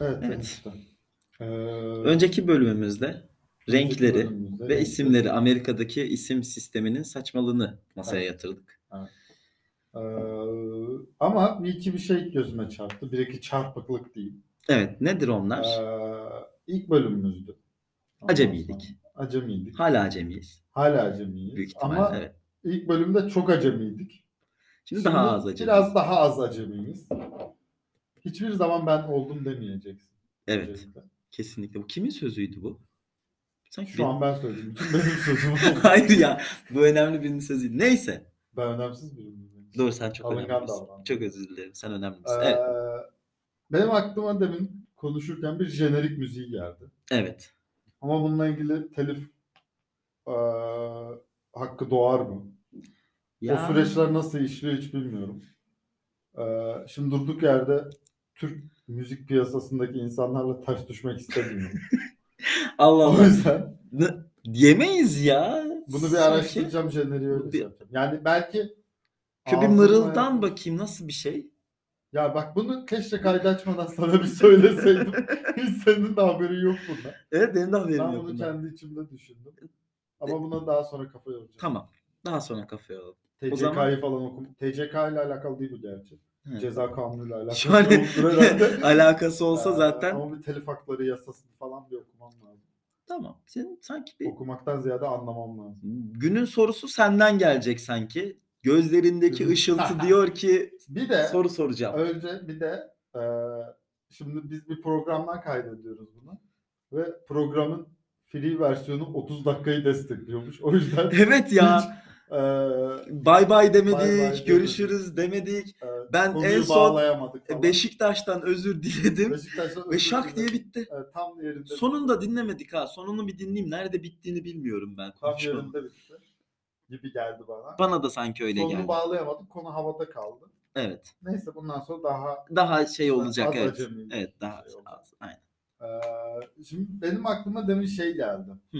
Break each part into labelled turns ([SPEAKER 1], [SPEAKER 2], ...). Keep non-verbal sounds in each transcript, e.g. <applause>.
[SPEAKER 1] Evet,
[SPEAKER 2] Evet.
[SPEAKER 1] Princeton. Ee,
[SPEAKER 2] Önceki bölümümüzde
[SPEAKER 1] önceki
[SPEAKER 2] renkleri
[SPEAKER 1] bölümümüzde
[SPEAKER 2] ve
[SPEAKER 1] renk-
[SPEAKER 2] isimleri Amerika'daki isim sisteminin saçmalığını masaya
[SPEAKER 1] Evet.
[SPEAKER 2] yatırdık.
[SPEAKER 1] Ee, ama bir iki bir şey gözüme çarptı. Bir iki çarpıklık diyeyim.
[SPEAKER 2] Evet, nedir onlar?
[SPEAKER 1] Ee, ilk bölümümüzdü. Ondan
[SPEAKER 2] Acemiydik.
[SPEAKER 1] sonra- Acemiydik.
[SPEAKER 2] Hala acemiyiz.
[SPEAKER 1] Hala acemiyiz.
[SPEAKER 2] Büyük ihtimalle
[SPEAKER 1] ama
[SPEAKER 2] evet.
[SPEAKER 1] ilk bölümde çok acemiydik.
[SPEAKER 2] Şimdi, daha az acemiyiz.
[SPEAKER 1] Biraz daha az acemiyiz. Hiçbir zaman ben oldum demeyeceksin.
[SPEAKER 2] Evet,
[SPEAKER 1] Öncelikle.
[SPEAKER 2] kesinlikle. Bu kimin sözüydü bu? Sanki
[SPEAKER 1] Şu
[SPEAKER 2] bir-
[SPEAKER 1] an ben söyleyeyim. Bütün benim sözüm.
[SPEAKER 2] <laughs> Hayır ya, bu önemli birinin sözüydü. Neyse.
[SPEAKER 1] ben önemsiz biriyim. benim için.
[SPEAKER 2] Doğru sen çok
[SPEAKER 1] Alıngan
[SPEAKER 2] önemli birisin.
[SPEAKER 1] davrandım.
[SPEAKER 2] Çok özür dilerim. Sen önemli
[SPEAKER 1] Ee,
[SPEAKER 2] misin? Evet.
[SPEAKER 1] Benim aklıma demin konuşurken bir jenerik müziği geldi.
[SPEAKER 2] evet.
[SPEAKER 1] Ama bununla ilgili telif ee, hakkı doğar mı? O süreçler nasıl işliyor hiç bilmiyorum. Ee, şimdi durduk yerde Türk müzik piyasasındaki insanlarla ters düşmek
[SPEAKER 2] <laughs>
[SPEAKER 1] istemiyorum.
[SPEAKER 2] Allah
[SPEAKER 1] o
[SPEAKER 2] Allah.
[SPEAKER 1] yüzden
[SPEAKER 2] Ne- Yemeyiz ya.
[SPEAKER 1] bunu bir
[SPEAKER 2] Sanki-
[SPEAKER 1] araştıracağım jeneriği öyle
[SPEAKER 2] Bir-
[SPEAKER 1] şey yapacağım. Yani belki
[SPEAKER 2] Şu bir
[SPEAKER 1] ağzımla-
[SPEAKER 2] mırıldan bakayım nasıl bir şey?
[SPEAKER 1] Ya bak bunu keşke kaydı açmadan sana bir
[SPEAKER 2] <laughs>
[SPEAKER 1] söyleseydim. Hiç senin de haberin yok bundan.
[SPEAKER 2] Evet benim de haberim
[SPEAKER 1] Ben
[SPEAKER 2] yok.
[SPEAKER 1] bunu
[SPEAKER 2] bundan.
[SPEAKER 1] kendi içimde düşündüm. Ama buna daha sonra kafa yoracağım.
[SPEAKER 2] E, Tamam. Daha sonra kafaya alalım.
[SPEAKER 1] TCK'yı
[SPEAKER 2] O zaman-
[SPEAKER 1] falan okum. TCK ile alakalı değil bu gerçi.
[SPEAKER 2] He.
[SPEAKER 1] Ceza kanunuyla alakalı.
[SPEAKER 2] Şu an <laughs>
[SPEAKER 1] yoktur herhalde.
[SPEAKER 2] alakası olsa
[SPEAKER 1] Ee,
[SPEAKER 2] zaten
[SPEAKER 1] Ama bir telif hakları yasasını falan bir okumam lazım.
[SPEAKER 2] tamam. Senin sanki bir
[SPEAKER 1] Okumaktan ziyade anlamam lazım.
[SPEAKER 2] günün sorusu senden gelecek sanki. Gözlerindeki
[SPEAKER 1] Günün- <laughs>
[SPEAKER 2] ışıltı diyor ki
[SPEAKER 1] Bir de
[SPEAKER 2] soru soracağım.
[SPEAKER 1] önce bir de e, şimdi biz bir programdan kaydediyoruz bunu. Ve programın free versiyonu 30 dakikayı destekliyormuş. O yüzden
[SPEAKER 2] Evet <laughs> ya.
[SPEAKER 1] e,
[SPEAKER 2] Bay bay demedik,
[SPEAKER 1] Bay bay demedik.
[SPEAKER 2] görüşürüz demedik.
[SPEAKER 1] e,
[SPEAKER 2] Ben
[SPEAKER 1] konuyu
[SPEAKER 2] en son E,
[SPEAKER 1] bağlayamadık falan.
[SPEAKER 2] Beşiktaş'tan özür diledim
[SPEAKER 1] Beşiktaş'tan
[SPEAKER 2] ve
[SPEAKER 1] özür
[SPEAKER 2] şak diye
[SPEAKER 1] dilerim.
[SPEAKER 2] bitti.
[SPEAKER 1] Evet, tam yerinde.
[SPEAKER 2] Sonunda dinlemedik ha. Sonunu bir dinleyeyim. Nerede bittiğini bilmiyorum ben.
[SPEAKER 1] Tam
[SPEAKER 2] konuşmanın.
[SPEAKER 1] yerinde bitti. Gibi geldi bana.
[SPEAKER 2] Bana da sanki öyle
[SPEAKER 1] Sonunu
[SPEAKER 2] geldi.
[SPEAKER 1] bağlayamadım. Konu havada kaldı.
[SPEAKER 2] Evet.
[SPEAKER 1] Neyse bundan sonra daha
[SPEAKER 2] Daha şey
[SPEAKER 1] Az
[SPEAKER 2] olacak evet.
[SPEAKER 1] acemi
[SPEAKER 2] Evet daha
[SPEAKER 1] şey olacak.
[SPEAKER 2] az. Aynen.
[SPEAKER 1] eee, şimdi benim aklıma demin şey geldi.
[SPEAKER 2] Hı.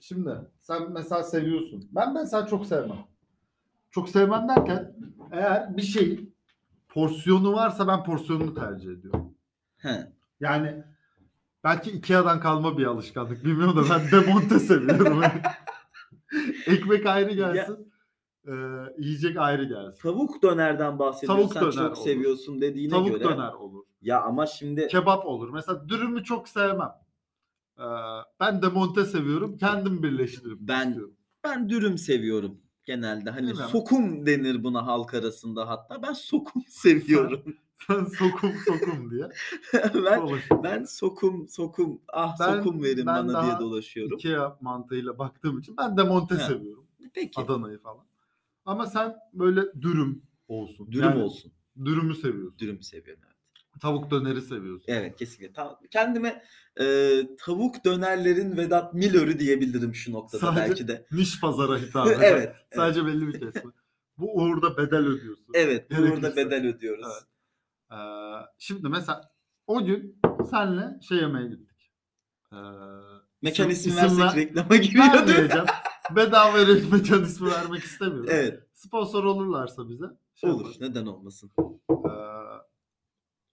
[SPEAKER 1] Şimdi sen mesela seviyorsun. Ben mesela çok sevmem. Çok sevmem derken eğer bir şey porsiyonu varsa ben porsiyonunu tercih ediyorum.
[SPEAKER 2] He.
[SPEAKER 1] Yani belki Ikea'dan kalma bir alışkanlık. Bilmiyorum da ben demonte
[SPEAKER 2] <laughs>
[SPEAKER 1] seviyorum. Ekmek ayrı gelsin. eee, yiyecek ayrı gelsin.
[SPEAKER 2] Tavuk dönerden bahsediyorsun.
[SPEAKER 1] Tavuk
[SPEAKER 2] Sen
[SPEAKER 1] döner
[SPEAKER 2] çok
[SPEAKER 1] olur.
[SPEAKER 2] seviyorsun dediğine
[SPEAKER 1] Tavuk
[SPEAKER 2] göre.
[SPEAKER 1] döner olur.
[SPEAKER 2] Ya ama şimdi
[SPEAKER 1] kebap olur. Mesela dürümü çok sevmem. Ee, ben de monte seviyorum. Kendim birleştiririm.
[SPEAKER 2] Ben-
[SPEAKER 1] istiyorum. <laughs>
[SPEAKER 2] ben dürüm seviyorum genelde. Hani
[SPEAKER 1] Değil mi?
[SPEAKER 2] sokum denir buna halk arasında hatta. Ben sokum <laughs> seviyorum.
[SPEAKER 1] Sen sokum sokum diye.
[SPEAKER 2] <laughs> ben
[SPEAKER 1] dolaşıyorum.
[SPEAKER 2] ben sokum sokum ah
[SPEAKER 1] Ben-
[SPEAKER 2] sokum
[SPEAKER 1] ben
[SPEAKER 2] verin bana diye
[SPEAKER 1] daha
[SPEAKER 2] dolaşıyorum.
[SPEAKER 1] Ikea mantığıyla baktığım için ben de monte
[SPEAKER 2] Ha.
[SPEAKER 1] seviyorum.
[SPEAKER 2] Peki.
[SPEAKER 1] Adana'yı falan. Ama sen böyle dürüm olsun.
[SPEAKER 2] Dürüm
[SPEAKER 1] Yani
[SPEAKER 2] olsun.
[SPEAKER 1] Dürümü seviyorsun.
[SPEAKER 2] Dürüm seviyorum. evet.
[SPEAKER 1] Tavuk döneri seviyorsun.
[SPEAKER 2] Evet kesinlikle. Ta- kendime e, tavuk dönerlerin Vedat Milor'u diyebilirim şu noktada
[SPEAKER 1] Sadece-
[SPEAKER 2] belki de.
[SPEAKER 1] Niş pazara
[SPEAKER 2] <laughs>
[SPEAKER 1] hitap
[SPEAKER 2] evet.
[SPEAKER 1] eden.
[SPEAKER 2] evet.
[SPEAKER 1] Sadece belli bir kesme. Bu uğurda bedel ödüyorsun.
[SPEAKER 2] Evet,
[SPEAKER 1] Gerekirse.
[SPEAKER 2] burada bedel ödüyoruz.
[SPEAKER 1] Evet. Ee, şimdi mesela o gün senle şey yemeye gittik. Ee,
[SPEAKER 2] Mekan
[SPEAKER 1] isim-
[SPEAKER 2] isim
[SPEAKER 1] isim ver-
[SPEAKER 2] versek reklama giriyordu.
[SPEAKER 1] vermeyeceğim. Bedava re- mekan ismi
[SPEAKER 2] <laughs>
[SPEAKER 1] vermek istemiyorum.
[SPEAKER 2] Evet,
[SPEAKER 1] Sponsor olurlarsa bize. şey
[SPEAKER 2] olur.
[SPEAKER 1] yaparız.
[SPEAKER 2] Neden olmasın?
[SPEAKER 1] Ee,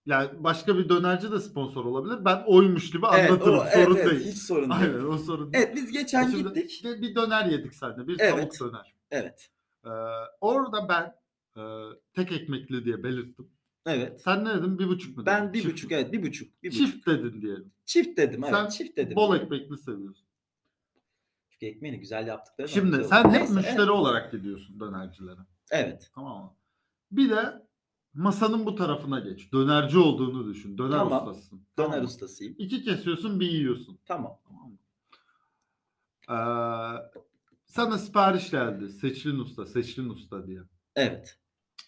[SPEAKER 1] yani başka bir dönerci de sponsor olabilir. Ben oymuş gibi
[SPEAKER 2] Evet,
[SPEAKER 1] anlatırım.
[SPEAKER 2] o-
[SPEAKER 1] sorun
[SPEAKER 2] evet, evet,
[SPEAKER 1] değil.
[SPEAKER 2] Hiç sorun değil.
[SPEAKER 1] Aynen o sorun değil.
[SPEAKER 2] Evet, biz geçen
[SPEAKER 1] Şimdi
[SPEAKER 2] gittik.
[SPEAKER 1] bir- Bir döner yedik seninle. Bir
[SPEAKER 2] Evet.
[SPEAKER 1] tavuk döner.
[SPEAKER 2] Evet,
[SPEAKER 1] Ee, orada ben e, tek ekmekli diye belirttim.
[SPEAKER 2] evet.
[SPEAKER 1] Sen ne dedin? Bir buçuk mu?
[SPEAKER 2] Ben
[SPEAKER 1] dedin?
[SPEAKER 2] bir
[SPEAKER 1] Çift
[SPEAKER 2] buçuk,
[SPEAKER 1] mi?
[SPEAKER 2] evet bir buçuk, bir buçuk.
[SPEAKER 1] Çift dedin diyelim.
[SPEAKER 2] Çift dedim, evet
[SPEAKER 1] Sen
[SPEAKER 2] çift dedim.
[SPEAKER 1] Bol ekmekli seviyorsun.
[SPEAKER 2] Çünkü ekmeğini güzel yaptıkları.
[SPEAKER 1] Şimdi
[SPEAKER 2] güzel
[SPEAKER 1] sen
[SPEAKER 2] oldu.
[SPEAKER 1] hep
[SPEAKER 2] Neyse,
[SPEAKER 1] müşteri
[SPEAKER 2] evet,
[SPEAKER 1] olarak gidiyorsun dönercilere.
[SPEAKER 2] Evet,
[SPEAKER 1] Tamam mı? Bir de masanın bu tarafına geç. Dönerci olduğunu düşün. Döner
[SPEAKER 2] Tamam.
[SPEAKER 1] ustasısın.
[SPEAKER 2] döner
[SPEAKER 1] Tamam mı?
[SPEAKER 2] ustasıyım.
[SPEAKER 1] İki kesiyorsun bir yiyorsun.
[SPEAKER 2] Tamam.
[SPEAKER 1] Tamam mı? Ee, sana sipariş geldi. Seçlin usta, seçlin usta diye.
[SPEAKER 2] Evet,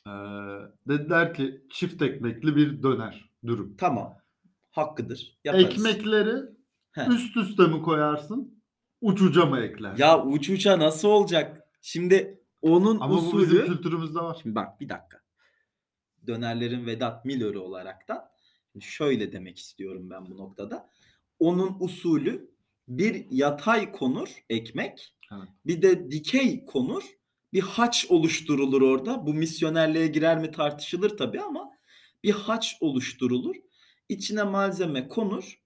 [SPEAKER 1] Ee, dediler ki çift ekmekli bir döner dürüm.
[SPEAKER 2] tamam. Hakkıdır. Yaparız.
[SPEAKER 1] Ekmekleri
[SPEAKER 2] He.
[SPEAKER 1] üst üste mi koyarsın? Ucuca mı eklersin?
[SPEAKER 2] Ya uç uça nasıl olacak? Şimdi onun
[SPEAKER 1] Ama bu
[SPEAKER 2] usulü...
[SPEAKER 1] bizim kültürümüzde var.
[SPEAKER 2] Şimdi bak bir dakika. Dönerlerin Vedat Milor'u olaraktan şöyle demek istiyorum ben bu noktada. Onun usulü bir yatay konur ekmek,
[SPEAKER 1] Evet.
[SPEAKER 2] bir de dikey konur, bir haç oluşturulur orada. Bu misyonerliğe girer mi tartışılır tabii ama bir haç oluşturulur. içine malzeme konur.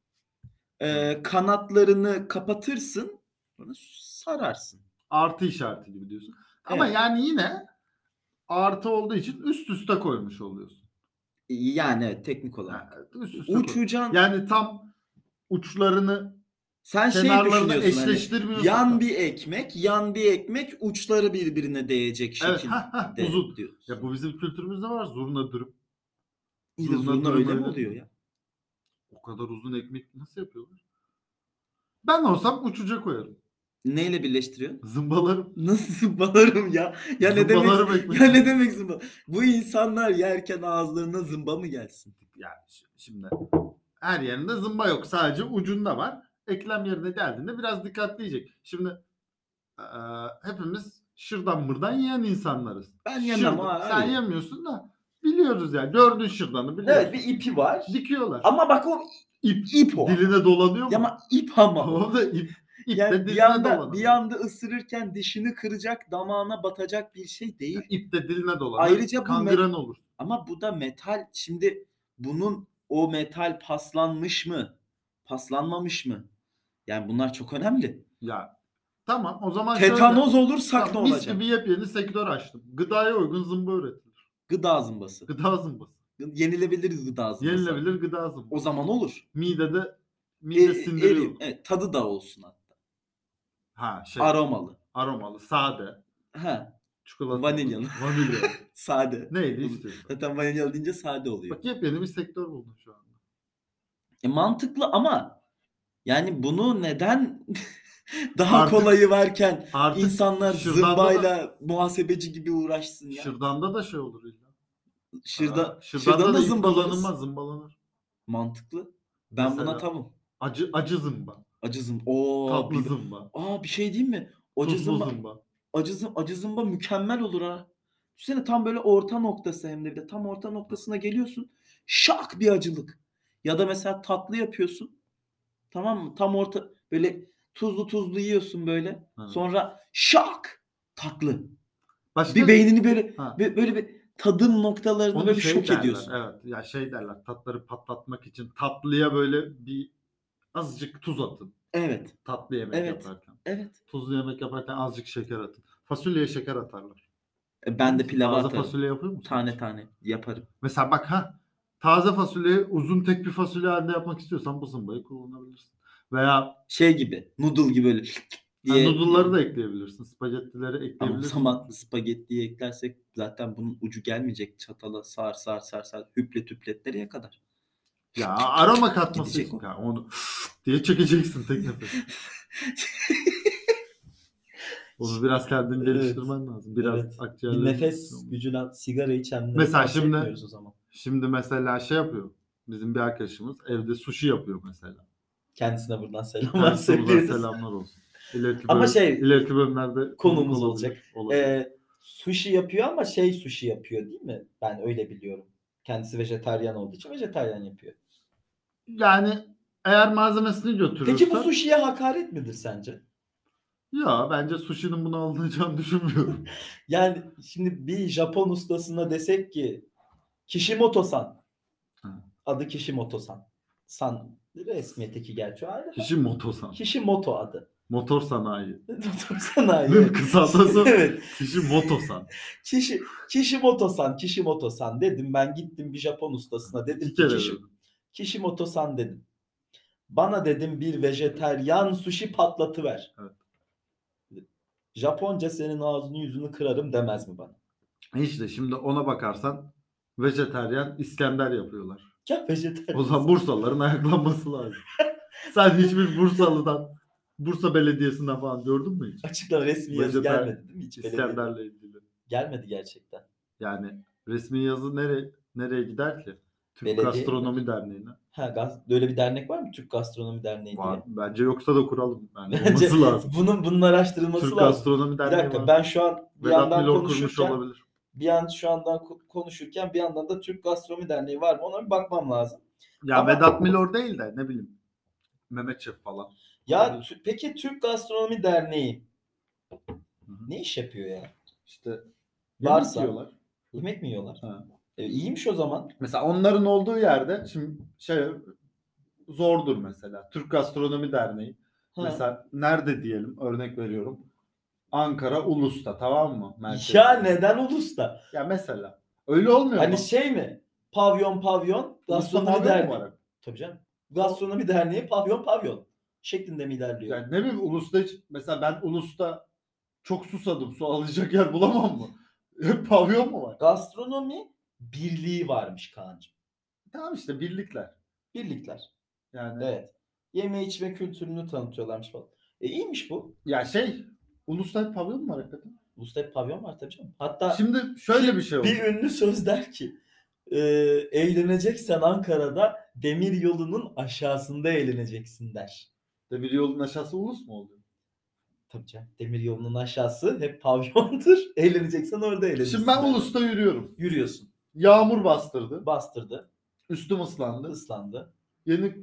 [SPEAKER 2] Ee, kanatlarını kapatırsın. Sonra sararsın.
[SPEAKER 1] Artı işareti gibi diyorsun. Ama
[SPEAKER 2] Evet.
[SPEAKER 1] yani yine artı olduğu için üst üste koymuş oluyorsun.
[SPEAKER 2] Yani evet, teknik olarak.
[SPEAKER 1] Yani üst üste koy-
[SPEAKER 2] Uçucan
[SPEAKER 1] Yani tam uçlarını
[SPEAKER 2] sen şey
[SPEAKER 1] kenarlarını
[SPEAKER 2] düşünüyorsun hani,
[SPEAKER 1] eşleştirmiyorsun. da.
[SPEAKER 2] yan bir ekmek, yan bir ekmek uçları birbirine değecek
[SPEAKER 1] Evet,
[SPEAKER 2] şekilde
[SPEAKER 1] hah, hah, uzun.
[SPEAKER 2] diyorsun.
[SPEAKER 1] Ya bu bizim kültürümüzde var zurna dürüm.
[SPEAKER 2] İyi de
[SPEAKER 1] zurna
[SPEAKER 2] zurna
[SPEAKER 1] dürüm
[SPEAKER 2] öyle mi
[SPEAKER 1] öyle.
[SPEAKER 2] oluyor ya?
[SPEAKER 1] O kadar uzun ekmek nasıl yapıyorlar? Ben olsam uçuca koyarım.
[SPEAKER 2] Neyle birleştiriyorsun? <laughs>
[SPEAKER 1] Zımbalarım.
[SPEAKER 2] Nasıl zımbalarım ya? Ya ne demek?
[SPEAKER 1] Zımbalarım ekmeği.
[SPEAKER 2] <laughs> Ya ne demek zımba? Bu insanlar yerken ağızlarına zımba mı gelsin?
[SPEAKER 1] Yani şi- şimdi her yerinde zımba yok. Sadece ucunda var. Eklem yerine geldiğinde biraz dikkatli yiyecek. Şimdi eee, hepimiz şırdan mırdan yiyen insanlarız.
[SPEAKER 2] Ben yemem
[SPEAKER 1] Şırdan-
[SPEAKER 2] ha,
[SPEAKER 1] Sen
[SPEAKER 2] hayır.
[SPEAKER 1] yemiyorsun da biliyoruz ya. Gördün şırdanı biliyorsun.
[SPEAKER 2] Evet bir ipi var.
[SPEAKER 1] Dikiyorlar.
[SPEAKER 2] Ama bak o
[SPEAKER 1] İp.
[SPEAKER 2] ip o.
[SPEAKER 1] Diline dolanıyor mu?
[SPEAKER 2] Ya ama ip ama. o.
[SPEAKER 1] <laughs> O da ip. İp de
[SPEAKER 2] Yani bir
[SPEAKER 1] diline
[SPEAKER 2] yanda,
[SPEAKER 1] dolanıyor.
[SPEAKER 2] bir yanda ısırırken dişini kıracak, damağına batacak bir şey değil.
[SPEAKER 1] İp de diline dolanıyor.
[SPEAKER 2] Ayrıca bu
[SPEAKER 1] Kangren olur.
[SPEAKER 2] Ama bu da metal. Şimdi bunun o metal paslanmış mı? Paslanmamış mı? Yani bunlar çok önemli.
[SPEAKER 1] Ya tamam o zaman şöyle-
[SPEAKER 2] Tetanoz olursak ne
[SPEAKER 1] Tamam, Mis
[SPEAKER 2] olacak?
[SPEAKER 1] gibi yepyeni sektör açtım. Gıdaya uygun zımba üretilir.
[SPEAKER 2] Gıda zımbası.
[SPEAKER 1] Gıda zımbası.
[SPEAKER 2] Yenilebilir gıda zımbası.
[SPEAKER 1] Yenilebilir gıda zımbası.
[SPEAKER 2] O zaman olur.
[SPEAKER 1] Midede mide
[SPEAKER 2] E,
[SPEAKER 1] sindiriyor.
[SPEAKER 2] erim, evet, tadı da olsun hatta.
[SPEAKER 1] Ha şey
[SPEAKER 2] Aromalı.
[SPEAKER 1] aromalı, sade,
[SPEAKER 2] Ha,
[SPEAKER 1] çikolata.
[SPEAKER 2] Vanilyalı.
[SPEAKER 1] Vanilya.
[SPEAKER 2] sade. <laughs>
[SPEAKER 1] Neydi istiyorsan.
[SPEAKER 2] Zaten vanilyalı deyince sade oluyor.
[SPEAKER 1] Bak yepyeni bir sektör buldum şu anda.
[SPEAKER 2] E, mantıklı ama yani bunu neden <laughs> daha
[SPEAKER 1] Artık-
[SPEAKER 2] kolayı varken
[SPEAKER 1] Artık
[SPEAKER 2] insanlar
[SPEAKER 1] şırdan da-
[SPEAKER 2] zımbayla muhasebeci gibi uğraşsın ya.
[SPEAKER 1] şırdanda da şey olur illa.
[SPEAKER 2] Şırda,
[SPEAKER 1] Aa,
[SPEAKER 2] şırdan
[SPEAKER 1] şırdanda da
[SPEAKER 2] da
[SPEAKER 1] ip
[SPEAKER 2] zımbalarız.
[SPEAKER 1] kullanılmaz, zımbalanır.
[SPEAKER 2] Mantıklı. Ben
[SPEAKER 1] Mesela-
[SPEAKER 2] buna tavım.
[SPEAKER 1] Acı acı zımba,
[SPEAKER 2] Acı zımba. Oo,
[SPEAKER 1] tatlı
[SPEAKER 2] bir,
[SPEAKER 1] zımba,
[SPEAKER 2] aa, bir şey diyeyim mi? Acı
[SPEAKER 1] tuzlu
[SPEAKER 2] zımba,
[SPEAKER 1] zımba.
[SPEAKER 2] acı, zım- acı zımba mükemmel olur ha. Düşünsene tam böyle orta noktası hem de bir de tam orta noktasına geliyorsun. Şak bir acılık. Ya da mesela tatlı yapıyorsun. Tamam mı? Tam orta böyle tuzlu tuzlu yiyorsun böyle.
[SPEAKER 1] Ha.
[SPEAKER 2] Sonra şak tatlı.
[SPEAKER 1] Başka
[SPEAKER 2] Bir beynini böyle
[SPEAKER 1] Ha.
[SPEAKER 2] bö- böyle bir tadım noktalarını
[SPEAKER 1] Onu
[SPEAKER 2] böyle
[SPEAKER 1] şey
[SPEAKER 2] şok
[SPEAKER 1] derler,
[SPEAKER 2] ediyorsun.
[SPEAKER 1] Evet. Ya şey derler tatları patlatmak için tatlıya böyle bir azıcık tuz atın.
[SPEAKER 2] Evet.
[SPEAKER 1] Tatlı yemek
[SPEAKER 2] Evet.
[SPEAKER 1] yaparken.
[SPEAKER 2] Evet.
[SPEAKER 1] Tuzlu yemek yaparken azıcık şeker atın. Fasulyeye şeker atarlar.
[SPEAKER 2] E, Ben de pilava
[SPEAKER 1] Taze
[SPEAKER 2] atarım.
[SPEAKER 1] fasulye yapıyor musun?
[SPEAKER 2] Tane tane yaparım.
[SPEAKER 1] Mesela bak ha taze fasulyeyi uzun tek bir fasulye halinde yapmak istiyorsan bu zımbayı kullanabilirsin. Veya
[SPEAKER 2] Şey gibi. Noodle gibi böyle
[SPEAKER 1] yani
[SPEAKER 2] diye.
[SPEAKER 1] noodle'ları da ekleyebilirsin. Spagettileri
[SPEAKER 2] Ama o
[SPEAKER 1] ekleyebilirsin.
[SPEAKER 2] zaman spagettiyi eklersek zaten bunun ucu gelmeyecek. Çatala sar sar sar sar. Hüplet hüplet nereye kadar?
[SPEAKER 1] Ya aroma katması
[SPEAKER 2] Gidecek
[SPEAKER 1] için.
[SPEAKER 2] o.
[SPEAKER 1] Ya onu <laughs> diye çekeceksin tek nefes.
[SPEAKER 2] <laughs>
[SPEAKER 1] Onu biraz kendini
[SPEAKER 3] Evet.
[SPEAKER 1] geliştirmen lazım. Biraz
[SPEAKER 3] Evet.
[SPEAKER 1] akciğer
[SPEAKER 3] Bir nefes gücüne sigara içenleri
[SPEAKER 1] şey Mesela
[SPEAKER 3] Mesela
[SPEAKER 1] şimdi-
[SPEAKER 3] bahsetmiyoruz o zaman.
[SPEAKER 1] Şimdi mesela şey yapıyor. Bizim bir arkadaşımız evde sushi yapıyor mesela.
[SPEAKER 3] Kendisine buradan selamlar
[SPEAKER 1] Kendisine buradan
[SPEAKER 3] söylüyoruz.
[SPEAKER 1] selamlar olsun. İleriki
[SPEAKER 3] Ama
[SPEAKER 1] bölüm-
[SPEAKER 3] şey,
[SPEAKER 1] ileriki bölümlerde
[SPEAKER 3] konumuz
[SPEAKER 1] olabilir,
[SPEAKER 3] olacak.
[SPEAKER 1] şey olabilir.
[SPEAKER 3] Ee, sushi yapıyor ama şey sushi yapıyor değil mi? Ben öyle biliyorum. Kendisi vejetaryen olduğu için vejetaryen yapıyor.
[SPEAKER 1] yani eğer malzemesini götürürse
[SPEAKER 3] Peki bu sushi'ye hakaret midir sence?
[SPEAKER 1] ya bence sushi'nin bunu
[SPEAKER 3] <laughs>
[SPEAKER 1] alınacağını düşünmüyorum.
[SPEAKER 3] Yani şimdi bir Japon ustasına desek ki Kishimoto-san.
[SPEAKER 1] Hı.
[SPEAKER 3] Adı Kishimoto-san. San resmiyeteki gerçi o ayrı.
[SPEAKER 1] Kişi motosan.
[SPEAKER 3] Kishimoto adı. <laughs>
[SPEAKER 1] Motor sanayi.
[SPEAKER 3] Doktor sanayi.
[SPEAKER 1] Evet. Kısaltası
[SPEAKER 3] <laughs> evet.
[SPEAKER 1] kişi motosan.
[SPEAKER 3] Kişi, Kishimoto-san, Kishimoto-san dedim. Ben gittim bir Japon ustasına dedim
[SPEAKER 1] İki
[SPEAKER 3] ki
[SPEAKER 1] kere
[SPEAKER 3] Kishi,
[SPEAKER 1] dedim.
[SPEAKER 3] Kishimoto-san dedim. Bana dedim bir vejeteryan sushi patlatı ver.
[SPEAKER 1] Evet.
[SPEAKER 3] Japonca senin ağzını yüzünü kırarım demez mi bana?
[SPEAKER 1] İşte şimdi ona bakarsan vejeteryan İskender yapıyorlar.
[SPEAKER 3] Ya vejeteryan.
[SPEAKER 1] O zaman Bursalıların
[SPEAKER 3] <laughs>
[SPEAKER 1] ayaklanması lazım. Sen hiçbir Bursalı'dan, Bursa Belediyesi'nden falan gördün mü hiç?
[SPEAKER 3] Açıklama resmi yazı
[SPEAKER 1] Vejeteryan
[SPEAKER 3] gelmedi değil mi? Hiç belediye-
[SPEAKER 1] İskender'le ilgili.
[SPEAKER 3] Gelmedi gerçekten.
[SPEAKER 1] Yani resmi yazı nereye, nereye gider ki? Türk
[SPEAKER 3] Belediye-
[SPEAKER 1] Gastronomi Derneği'ne.
[SPEAKER 3] Ha, gaz, böyle bir dernek var mı? Türk Gastronomi Derneği
[SPEAKER 1] Var.
[SPEAKER 3] diye.
[SPEAKER 1] Bence yoksa da kuralım. Yani
[SPEAKER 3] Bence <laughs>
[SPEAKER 1] olması lazım.
[SPEAKER 3] bunun bunun araştırılması
[SPEAKER 1] Türk
[SPEAKER 3] lazım.
[SPEAKER 1] Gastronomi
[SPEAKER 3] Bir
[SPEAKER 1] Derneği
[SPEAKER 3] dakika
[SPEAKER 1] var.
[SPEAKER 3] ben şu an bir
[SPEAKER 1] Vedat
[SPEAKER 3] yandan
[SPEAKER 1] Milor kurmuş
[SPEAKER 3] konuşurken
[SPEAKER 1] olabilir.
[SPEAKER 3] bir an şu andan ko- konuşurken bir yandan da Türk Gastronomi Derneği var mı ona bir bakmam lazım.
[SPEAKER 1] Ya
[SPEAKER 3] Ama-
[SPEAKER 1] Vedat Milor değil de ne bileyim. Mehmet Şef falan.
[SPEAKER 3] Ya
[SPEAKER 1] Olabilir.
[SPEAKER 3] tü- peki Türk Gastronomi Derneği
[SPEAKER 1] Hı hı.
[SPEAKER 3] ne iş yapıyor ya?
[SPEAKER 1] İşte
[SPEAKER 3] Varsa.
[SPEAKER 1] yemek yiyorlar.
[SPEAKER 3] Yemek mi yiyorlar?
[SPEAKER 1] Ha.
[SPEAKER 3] E E, iyiymiş o zaman.
[SPEAKER 1] Mesela onların olduğu yerde şimdi şey zordur mesela. Türk Gastronomi Derneği.
[SPEAKER 3] Ha.
[SPEAKER 1] Mesela nerede diyelim örnek veriyorum. Ankara Ulus'ta tamam mı? Merkezi.
[SPEAKER 3] ya neden Ulus'ta?
[SPEAKER 1] Ya mesela. Öyle olmuyor
[SPEAKER 3] Hani
[SPEAKER 1] mu?
[SPEAKER 3] şey mi? Pavyon pavyon
[SPEAKER 1] Ulus'ta
[SPEAKER 3] gastronomi
[SPEAKER 1] pavyon
[SPEAKER 3] derneği.
[SPEAKER 1] var.
[SPEAKER 3] Tabii canım. Gastronomi derneği pavyon pavyon şeklinde mi ilerliyor?
[SPEAKER 1] Yani ne bileyim Ulus'ta hiç mesela ben Ulus'ta çok susadım. Su alacak yer bulamam mı? <laughs> Hep pavyon mu var?
[SPEAKER 3] Gastronomi birliği varmış Kaan'cığım.
[SPEAKER 1] Tamam işte birlikler.
[SPEAKER 3] Birlikler.
[SPEAKER 1] Yani
[SPEAKER 3] Evet. Yeme içme kültürünü tanıtıyorlarmış falan. E iyiymiş bu.
[SPEAKER 1] ya şey Ulus'ta hep pavyon mu var hakikaten?
[SPEAKER 3] Ulus'ta hep pavyon var tabii canım. Hatta
[SPEAKER 1] Şimdi şöyle bir şey oldu.
[SPEAKER 3] bir ünlü söz der ki e, eğleneceksen Ankara'da demir yolunun aşağısında eğleneceksin der.
[SPEAKER 1] De bir yolun aşağısı Ulus mu oluyor?
[SPEAKER 3] Tabii canım. Demir yolunun aşağısı hep pavyondur. <laughs> Eğleneceksen orada eğlenirsin.
[SPEAKER 1] Şimdi ben
[SPEAKER 3] der.
[SPEAKER 1] Ulus'ta yürüyorum.
[SPEAKER 3] Yürüyorsun.
[SPEAKER 1] Yağmur bastırdı.
[SPEAKER 3] Bastırdı.
[SPEAKER 1] Üstüm ıslandı.
[SPEAKER 3] ıslandı.
[SPEAKER 1] Yeni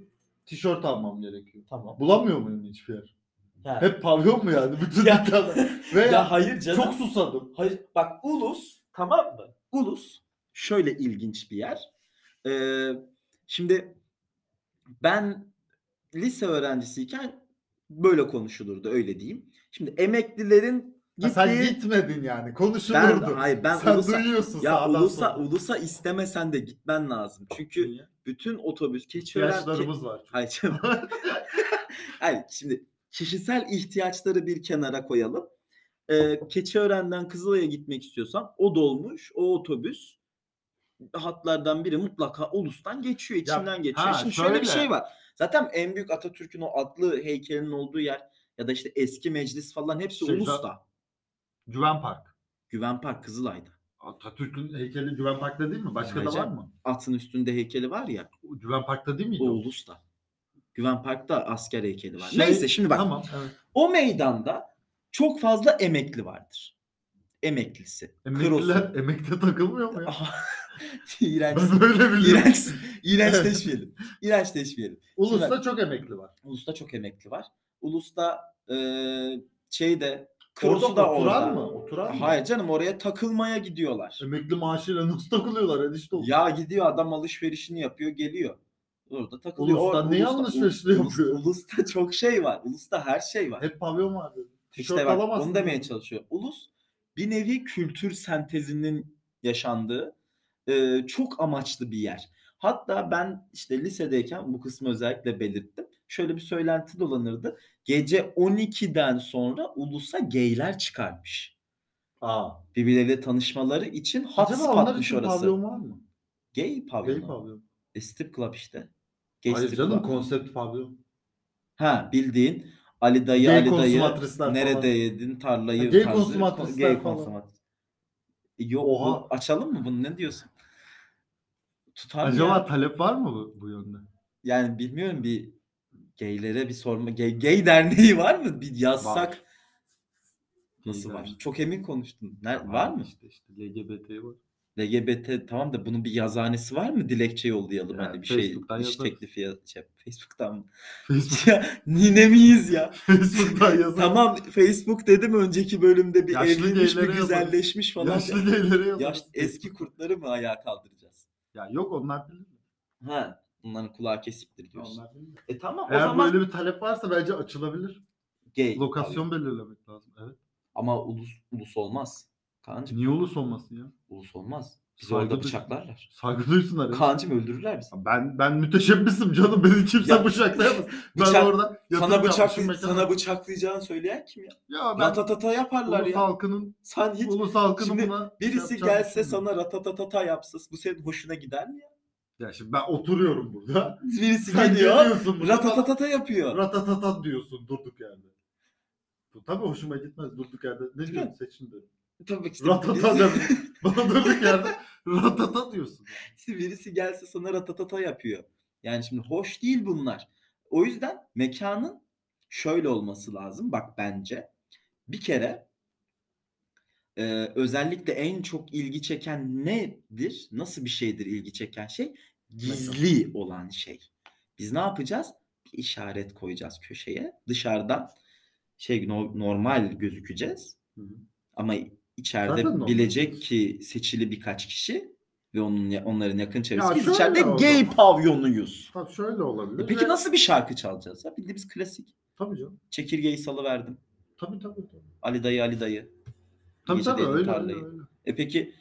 [SPEAKER 1] tişört almam gerekiyor.
[SPEAKER 3] Tamam.
[SPEAKER 1] Bulamıyor muyum hiçbir yer?
[SPEAKER 3] Ha.
[SPEAKER 1] Hep pavyon mu yani? Bütün
[SPEAKER 2] <laughs>
[SPEAKER 3] Ya-
[SPEAKER 1] dükkanlar. Ve
[SPEAKER 3] Ya hayır canım.
[SPEAKER 1] çok susadım.
[SPEAKER 3] Hayır bak ulus tamam mı?
[SPEAKER 2] Ulus şöyle ilginç bir yer. Ee, şimdi ben lise öğrencisiyken böyle konuşulurdu öyle diyeyim. Şimdi emeklilerin
[SPEAKER 1] Ya sen
[SPEAKER 2] gittiği-
[SPEAKER 1] gitmedin yani.
[SPEAKER 2] ben,
[SPEAKER 1] Konuşulurdu.
[SPEAKER 2] hayır ben
[SPEAKER 1] sen
[SPEAKER 2] Ulus'a,
[SPEAKER 1] duyuyorsun
[SPEAKER 2] ya
[SPEAKER 1] sağdan
[SPEAKER 2] Ulus'a,
[SPEAKER 1] soldan.
[SPEAKER 2] Ulus'a istemesen de gitmen lazım. Çünkü
[SPEAKER 1] Niye?
[SPEAKER 2] bütün otobüs keçiören,
[SPEAKER 1] İhtiyaçlarımız var. çünkü.
[SPEAKER 2] Hayır canım. <laughs> Hayır, şimdi kişisel ihtiyaçları bir kenara koyalım. Ee, Keçiören'den Kızılay'a gitmek istiyorsam o dolmuş, o otobüs hatlardan biri mutlaka Ulus'tan geçiyor, içinden geçiyor.
[SPEAKER 1] ha,
[SPEAKER 2] Şimdi şöyle bir
[SPEAKER 1] şöyle.
[SPEAKER 2] şey var. Zaten en büyük Atatürk'ün o adlı heykelinin olduğu yer ya da işte eski meclis falan hepsi
[SPEAKER 1] Şey,
[SPEAKER 2] Ulus'ta.
[SPEAKER 1] Güven Park.
[SPEAKER 2] Güven Park Kızılay'da.
[SPEAKER 1] Atatürk'ün heykeli Güven Park'ta değil mi? Başka da
[SPEAKER 2] Hocam.
[SPEAKER 1] var mı?
[SPEAKER 2] Atın üstünde heykeli var ya,
[SPEAKER 1] Güven Park'ta değil miydi?
[SPEAKER 2] o
[SPEAKER 1] o?
[SPEAKER 2] Ulus'ta. Güven Park'ta asker heykeli var.
[SPEAKER 1] Şey,
[SPEAKER 2] Neyse şimdi bak.
[SPEAKER 1] Tamam. Evet.
[SPEAKER 2] O meydanda çok fazla emekli vardır. Emeklisi.
[SPEAKER 1] Emekliler emekte takılmıyor mu ya?
[SPEAKER 2] Krosu.
[SPEAKER 1] <laughs>
[SPEAKER 2] <laughs> İğrenç.
[SPEAKER 1] Ben böyle biliyorum.
[SPEAKER 2] İğrenç. İğrençleşmeyelim. İğrençleşmeyelim.
[SPEAKER 1] Ulus'ta çok emekli var.
[SPEAKER 2] Ulus'ta çok emekli var. Ulus'ta eee şey de
[SPEAKER 1] Orada
[SPEAKER 2] Krosu da
[SPEAKER 1] oturan
[SPEAKER 2] orada.
[SPEAKER 1] mı? Oturan mı?
[SPEAKER 2] Hayır canım oraya takılmaya gidiyorlar.
[SPEAKER 1] Emekli maaşıyla nasıl takılıyorlar enişte oğlum?
[SPEAKER 2] Ya gidiyor adam alışverişini yapıyor geliyor. Orada takılıyor.
[SPEAKER 1] Ulus'ta
[SPEAKER 2] Or-
[SPEAKER 1] neyi
[SPEAKER 2] Ulus'ta-
[SPEAKER 1] alışverişini
[SPEAKER 2] Ulus-
[SPEAKER 1] yapıyor?
[SPEAKER 2] Ulus'ta çok şey var. Ulus'ta her şey var.
[SPEAKER 1] Hep pavyon var dedi. Tişört
[SPEAKER 2] İşte bak
[SPEAKER 1] alamazsın.
[SPEAKER 2] onu demeye çalışıyor. Ulus bir nevi kültür sentezinin yaşandığı e, çok amaçlı bir yer. Hatta ben işte lisedeyken bu kısmı özellikle belirttim. Şöyle bir söylenti dolanırdı. Gece 12'den sonra ulusa geyler çıkarmış.
[SPEAKER 1] Aa.
[SPEAKER 2] Birbirleriyle tanışmaları için hot
[SPEAKER 1] Acaba onlar
[SPEAKER 2] spotmuş
[SPEAKER 1] için
[SPEAKER 2] orası.
[SPEAKER 1] pavyon var mı?
[SPEAKER 2] Gay
[SPEAKER 1] Gay
[SPEAKER 2] pavyonu.
[SPEAKER 1] pavyon.
[SPEAKER 2] E, strip club işte. Gay
[SPEAKER 1] Hayır
[SPEAKER 2] strip
[SPEAKER 1] canım
[SPEAKER 2] club.
[SPEAKER 1] konsept pavyon.
[SPEAKER 2] Ha bildiğin Ali dayı
[SPEAKER 1] Gay
[SPEAKER 2] Ali dayı
[SPEAKER 1] konsumatrisler
[SPEAKER 2] nerede
[SPEAKER 1] falan.
[SPEAKER 2] yedin tarlayı
[SPEAKER 1] Ha, gay
[SPEAKER 2] tarzı-
[SPEAKER 1] konsumatristler
[SPEAKER 2] gay
[SPEAKER 1] falan.
[SPEAKER 2] konsumat. E, Yok
[SPEAKER 1] Oha.
[SPEAKER 2] bu- açalım mı bunu ne diyorsun? Tutar mı
[SPEAKER 1] Acaba
[SPEAKER 2] ya?
[SPEAKER 1] talep var mı bu, bu yönde?
[SPEAKER 2] Yani bilmiyorum bir gaylere bir sorma. Gay, gay derneği <laughs> var mı? Bir yazsak
[SPEAKER 1] Var.
[SPEAKER 2] nasıl var?
[SPEAKER 1] Gayler.
[SPEAKER 2] Çok emin konuştun. Ner- var mı?
[SPEAKER 1] İşte, işte LGBT var. <laughs>
[SPEAKER 2] LGBT tamam da bunun bir yazanesi var mı? Dilekçe yollayalım
[SPEAKER 1] Ya,
[SPEAKER 2] hani bir şey
[SPEAKER 1] Facebook'tan
[SPEAKER 2] iş
[SPEAKER 1] yazarız.
[SPEAKER 2] teklifi ya, şey, Facebook'tan mı? <laughs>
[SPEAKER 1] Facebook,
[SPEAKER 2] ya nine miyiz ya?
[SPEAKER 1] Facebook'tan yazar.
[SPEAKER 2] Tamam Facebook dedim önceki bölümde bir
[SPEAKER 1] Yaşlı
[SPEAKER 2] evlenmiş bir
[SPEAKER 1] geylere yazalım.
[SPEAKER 2] güzelleşmiş falan.
[SPEAKER 1] Yaşlı gaylere yazar.
[SPEAKER 2] Yaş, eski kurtları mı ayağa kaldıracağız?
[SPEAKER 1] Ya yok onlar bilir.
[SPEAKER 2] Ha, bunların kulağı kesiktir diyorsun.
[SPEAKER 1] Onlar bilir.
[SPEAKER 2] E tamam
[SPEAKER 1] Eğer
[SPEAKER 2] o zaman
[SPEAKER 1] böyle bir talep varsa bence açılabilir.
[SPEAKER 2] gay.
[SPEAKER 1] Lokasyon
[SPEAKER 2] tabii.
[SPEAKER 1] belirlemek lazım. Evet.
[SPEAKER 2] Ama ulus ulus olmaz. Kaan'cım
[SPEAKER 1] Niye ulus olmasın ya?
[SPEAKER 2] ulus olmaz. Bizi
[SPEAKER 1] Saygı
[SPEAKER 2] orada
[SPEAKER 1] duy-
[SPEAKER 2] bıçaklarlar.
[SPEAKER 1] Saygı duysunlar. ya.
[SPEAKER 2] Kaan'cım öldürürler bizi.
[SPEAKER 1] Ben ben müteşebbisim canım. Beni kimse <laughs>
[SPEAKER 2] Ya-
[SPEAKER 1] bıçaklayamaz. Ben
[SPEAKER 2] Bıçak-
[SPEAKER 1] orada yatırım
[SPEAKER 2] Sana bıçak
[SPEAKER 1] yapmışım mekana.
[SPEAKER 2] sana bıçaklayacağını söyleyen kim ya?
[SPEAKER 1] Ya ben
[SPEAKER 2] Ratatata yaparlar
[SPEAKER 1] ulus
[SPEAKER 2] ya.
[SPEAKER 1] halkının
[SPEAKER 2] Sen hiç
[SPEAKER 1] ulus halkının
[SPEAKER 2] Şimdi
[SPEAKER 1] buna şey
[SPEAKER 2] birisi
[SPEAKER 1] yapacağını
[SPEAKER 2] gelse
[SPEAKER 1] düşünmüyorum.
[SPEAKER 2] sana ratatatata yapsa bu senin hoşuna gider mi ya?
[SPEAKER 1] ya şimdi ben oturuyorum burada.
[SPEAKER 2] Birisi
[SPEAKER 1] Sen
[SPEAKER 2] geliyor
[SPEAKER 1] geliyorsun burada.
[SPEAKER 2] ratatatata yapıyor.
[SPEAKER 1] Ratatata diyorsun durduk yerde. Bu tabii hoşuma gitmez durduk yerde. Ne diyorsun seçin diyorum.
[SPEAKER 2] Tabii ki.
[SPEAKER 1] Ratata
[SPEAKER 2] birisi-
[SPEAKER 1] dedim. <laughs> Bana durduk yerde ratata diyorsun.
[SPEAKER 2] İşte birisi gelse sana ratatata yapıyor. Yani şimdi hoş değil bunlar. O yüzden mekanın şöyle olması lazım. Bak bence bir kere e, özellikle en çok ilgi çeken nedir? Nasıl bir şeydir ilgi çeken şey? Gizli olan şey. Biz ne yapacağız? Bir işaret koyacağız köşeye. Dışarıdan şey no- normal gözükeceğiz.
[SPEAKER 1] Hı hı.
[SPEAKER 2] Ama içeride
[SPEAKER 1] Zaten normal
[SPEAKER 2] bilecek
[SPEAKER 1] gözüküyoruz.
[SPEAKER 2] ki seçili birkaç kişi
[SPEAKER 4] ve onun ya- onların yakın çevresi.
[SPEAKER 1] Ya
[SPEAKER 4] Biz
[SPEAKER 1] şöyle
[SPEAKER 4] içeride
[SPEAKER 1] o
[SPEAKER 4] gay
[SPEAKER 1] zaman.
[SPEAKER 4] pavyonuyuz.
[SPEAKER 1] Tabii şöyle olabilir.
[SPEAKER 4] E peki
[SPEAKER 1] ve-
[SPEAKER 4] nasıl bir şarkı çalacağız? Ya bildiğimiz klasik.
[SPEAKER 1] Tabii canım.
[SPEAKER 4] Çekirgeyi salıverdim.
[SPEAKER 1] Tabii tabii. Tabii
[SPEAKER 4] Ali dayı Ali dayı.
[SPEAKER 1] tabii,
[SPEAKER 4] Gece
[SPEAKER 1] tabii
[SPEAKER 4] dedim
[SPEAKER 1] öyle, öyle,
[SPEAKER 4] tarlayı.
[SPEAKER 1] öyle.
[SPEAKER 4] E peki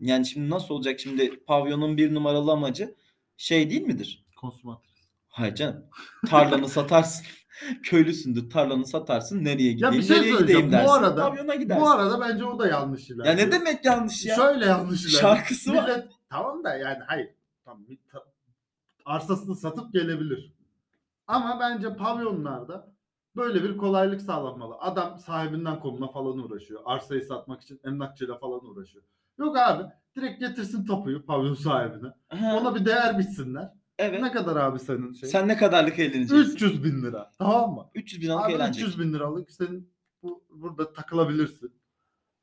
[SPEAKER 4] yani şimdi nasıl olacak şimdi pavyonun bir numaralı amacı şey değil midir?
[SPEAKER 1] Konsumatris.
[SPEAKER 4] Hayır canım. Tarlanı satarsın. <laughs> Köylüsündür. Tarlanı satarsın. Nereye gideyim?
[SPEAKER 1] bir şey
[SPEAKER 4] nereye
[SPEAKER 1] söyleyeceğim.
[SPEAKER 4] gideyim
[SPEAKER 1] Bu
[SPEAKER 4] dersin.
[SPEAKER 1] arada-
[SPEAKER 4] Pavyona gidersin.
[SPEAKER 1] Bu arada bence o da yanlış
[SPEAKER 4] ya
[SPEAKER 1] ilerliyor.
[SPEAKER 4] ne demek yanlış ya?
[SPEAKER 1] Şöyle şey- yanlış ilerliyor.
[SPEAKER 4] Şarkısı var.
[SPEAKER 1] Millet- Tamam da yani hayır. Tam bir ta- arsasını satıp gelebilir. Ama bence pavyonlarda böyle bir kolaylık sağlanmalı. Adam sahibinden komuna falan uğraşıyor. Arsayı satmak için emlakçıyla falan uğraşıyor. Yok abi direkt getirsin tapuyu pavyon sahibine.
[SPEAKER 4] Ha,
[SPEAKER 1] Ona bir değer bitsinler.
[SPEAKER 4] evet.
[SPEAKER 1] Ne kadar abi senin şey?
[SPEAKER 4] Sen ne kadarlık eğleneceksin?
[SPEAKER 1] 300 bin lira. Tamam mı?
[SPEAKER 4] 300 bin alıp
[SPEAKER 1] Abi
[SPEAKER 4] eğleneceksin.
[SPEAKER 1] 300 bin liralık senin bu, burada takılabilirsin.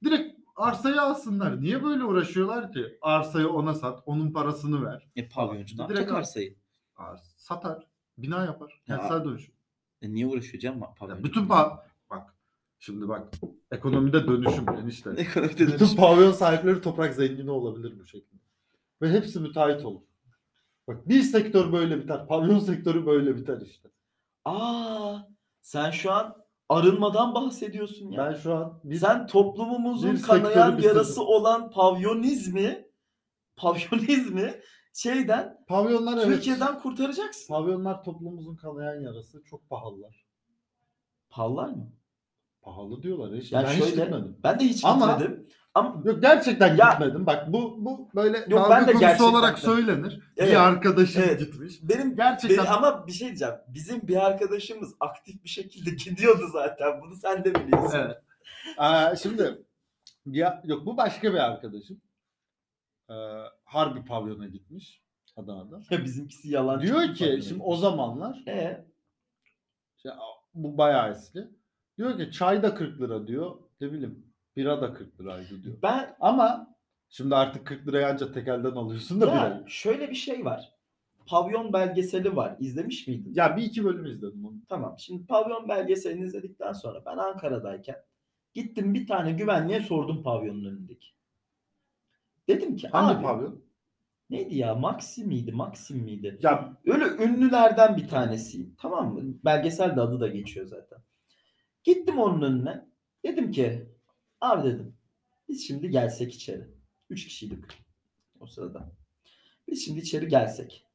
[SPEAKER 1] Direkt arsayı alsınlar. Niye böyle uğraşıyorlar ki? Arsayı ona sat, onun parasını ver.
[SPEAKER 4] E pavyoncudan
[SPEAKER 1] Direkt
[SPEAKER 4] Direkt
[SPEAKER 1] al.
[SPEAKER 4] arsayı.
[SPEAKER 1] Ars- satar, bina yapar.
[SPEAKER 4] Ya.
[SPEAKER 1] Kentsel dönüşüm.
[SPEAKER 4] E niye uğraşıyor canım bak
[SPEAKER 1] Ya
[SPEAKER 4] pavyoncu?
[SPEAKER 1] bütün
[SPEAKER 4] <laughs>
[SPEAKER 1] pa- bak şimdi bak ekonomide dönüşüm enişte.
[SPEAKER 4] Ekonomide
[SPEAKER 1] bütün
[SPEAKER 4] dönüşüm.
[SPEAKER 1] pavyon sahipleri toprak zengini olabilir bu şekilde. Ve hepsi müteahhit olur. Bak bir sektör böyle biter. Pavyon <laughs> sektörü böyle biter işte.
[SPEAKER 2] Aa, sen şu an arınmadan bahsediyorsun ya.
[SPEAKER 1] Ben şu an bir
[SPEAKER 2] Sen toplumumuzun
[SPEAKER 1] bir
[SPEAKER 2] kanayan
[SPEAKER 1] sektörü bitirdim.
[SPEAKER 2] yarası olan pavyonizmi, pavyonizmi şeyden
[SPEAKER 1] pavyonlar evet.
[SPEAKER 2] Türkiye'den kurtaracaksın.
[SPEAKER 1] Pavyonlar toplumumuzun kanayan yarası. Çok pahalılar.
[SPEAKER 2] Pallar mı?
[SPEAKER 1] Pahalı diyorlar. ya işte.
[SPEAKER 2] Yani
[SPEAKER 1] ben hiç
[SPEAKER 2] şöyle-
[SPEAKER 1] gitmedim.
[SPEAKER 2] Ben de hiç
[SPEAKER 1] Ama-
[SPEAKER 2] gitmedim. Ama
[SPEAKER 1] Yok gerçekten
[SPEAKER 2] Ya-
[SPEAKER 1] gitmedim. Bak bu bu böyle
[SPEAKER 2] Yok,
[SPEAKER 1] dalga
[SPEAKER 2] ben de
[SPEAKER 1] konusu
[SPEAKER 2] gerçekten
[SPEAKER 1] olarak
[SPEAKER 2] de.
[SPEAKER 1] söylenir.
[SPEAKER 2] Evet.
[SPEAKER 1] Bir arkadaşım
[SPEAKER 2] Evet.
[SPEAKER 1] gitmiş.
[SPEAKER 2] benim
[SPEAKER 1] Gerçekten
[SPEAKER 2] Be- ama bir şey diyeceğim. Bizim bir arkadaşımız aktif bir şekilde <laughs> gidiyordu zaten. Bunu sen de biliyorsun.
[SPEAKER 1] Evet. Aa, şimdi ya yok bu başka bir arkadaşım. Ee, harbi pavyona gitmiş Adana'da.
[SPEAKER 2] Ya bizimkisi yalan.
[SPEAKER 1] Diyor
[SPEAKER 2] çıktı
[SPEAKER 1] ki
[SPEAKER 2] pavyona.
[SPEAKER 1] şimdi o zamanlar
[SPEAKER 2] Ee,
[SPEAKER 1] işte, bu bayağı eski. Diyor ki çay da 40 lira diyor. Ne bileyim bira da 40 liraydı diyor.
[SPEAKER 2] ben
[SPEAKER 1] Ama şimdi artık 40 lirayı ancak tekelden alıyorsun da
[SPEAKER 2] ya,
[SPEAKER 1] bira.
[SPEAKER 2] şöyle bir şey var. Pavyon belgeseli var. İzlemiş miydin?
[SPEAKER 1] Ya bir iki bölüm izledim onu.
[SPEAKER 2] Tamam. Şimdi pavyon belgeselini izledikten sonra ben Ankara'dayken gittim bir tane güvenliğe sordum pavyonun önündeki. Dedim ki
[SPEAKER 1] Hangi
[SPEAKER 2] abi
[SPEAKER 1] pavyon?
[SPEAKER 2] neydi ya Maxi miydi Maxim miydi?
[SPEAKER 1] Ya
[SPEAKER 2] Öyle ünlülerden bir tanesiyim. Tamam mı? Belgesel de adı da geçiyor zaten. Gittim onun önüne. Dedim ki abi dedim biz şimdi gelsek içeri. Üç kişiydik o sırada. Biz şimdi içeri gelsek.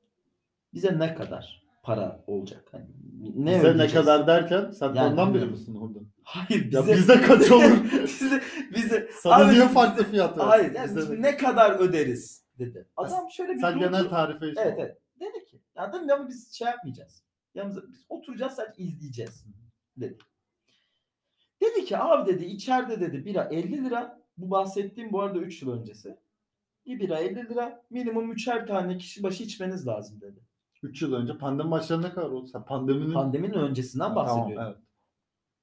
[SPEAKER 2] Bize ne kadar para olacak? Hani ne
[SPEAKER 1] bize ne
[SPEAKER 2] ödeyeceğiz?
[SPEAKER 1] kadar derken sen
[SPEAKER 2] Yani
[SPEAKER 1] ondan biri
[SPEAKER 2] bilmiyorum.
[SPEAKER 1] misin orada?
[SPEAKER 2] Hayır bize.
[SPEAKER 1] Ya
[SPEAKER 2] <laughs>
[SPEAKER 1] bize kaç olur?
[SPEAKER 2] bize, bize.
[SPEAKER 1] Sana
[SPEAKER 2] Abi,
[SPEAKER 1] niye farklı fiyat ver?
[SPEAKER 2] Hayır yani biz ne kadar öderiz dedi. Adam şöyle bir
[SPEAKER 1] Sen
[SPEAKER 2] durdu.
[SPEAKER 1] genel tarifeyi sor.
[SPEAKER 2] Evet evet. Dedi ki ya dedim ya biz şey yapmayacağız. Yalnız biz oturacağız sadece izleyeceğiz dedi. Dedi ki abi dedi içeride dedi bira 50 lira. Bu bahsettiğim bu arada 3 yıl öncesi. Bir bira 50 lira minimum üçer tane kişi başı içmeniz lazım dedi.
[SPEAKER 1] 3 yıl önce pandemi başlarına kadar oldu. Sen pandeminin...
[SPEAKER 2] Pandeminin öncesinden
[SPEAKER 1] Ha,
[SPEAKER 2] bahsediyorum.
[SPEAKER 1] Tamam, evet.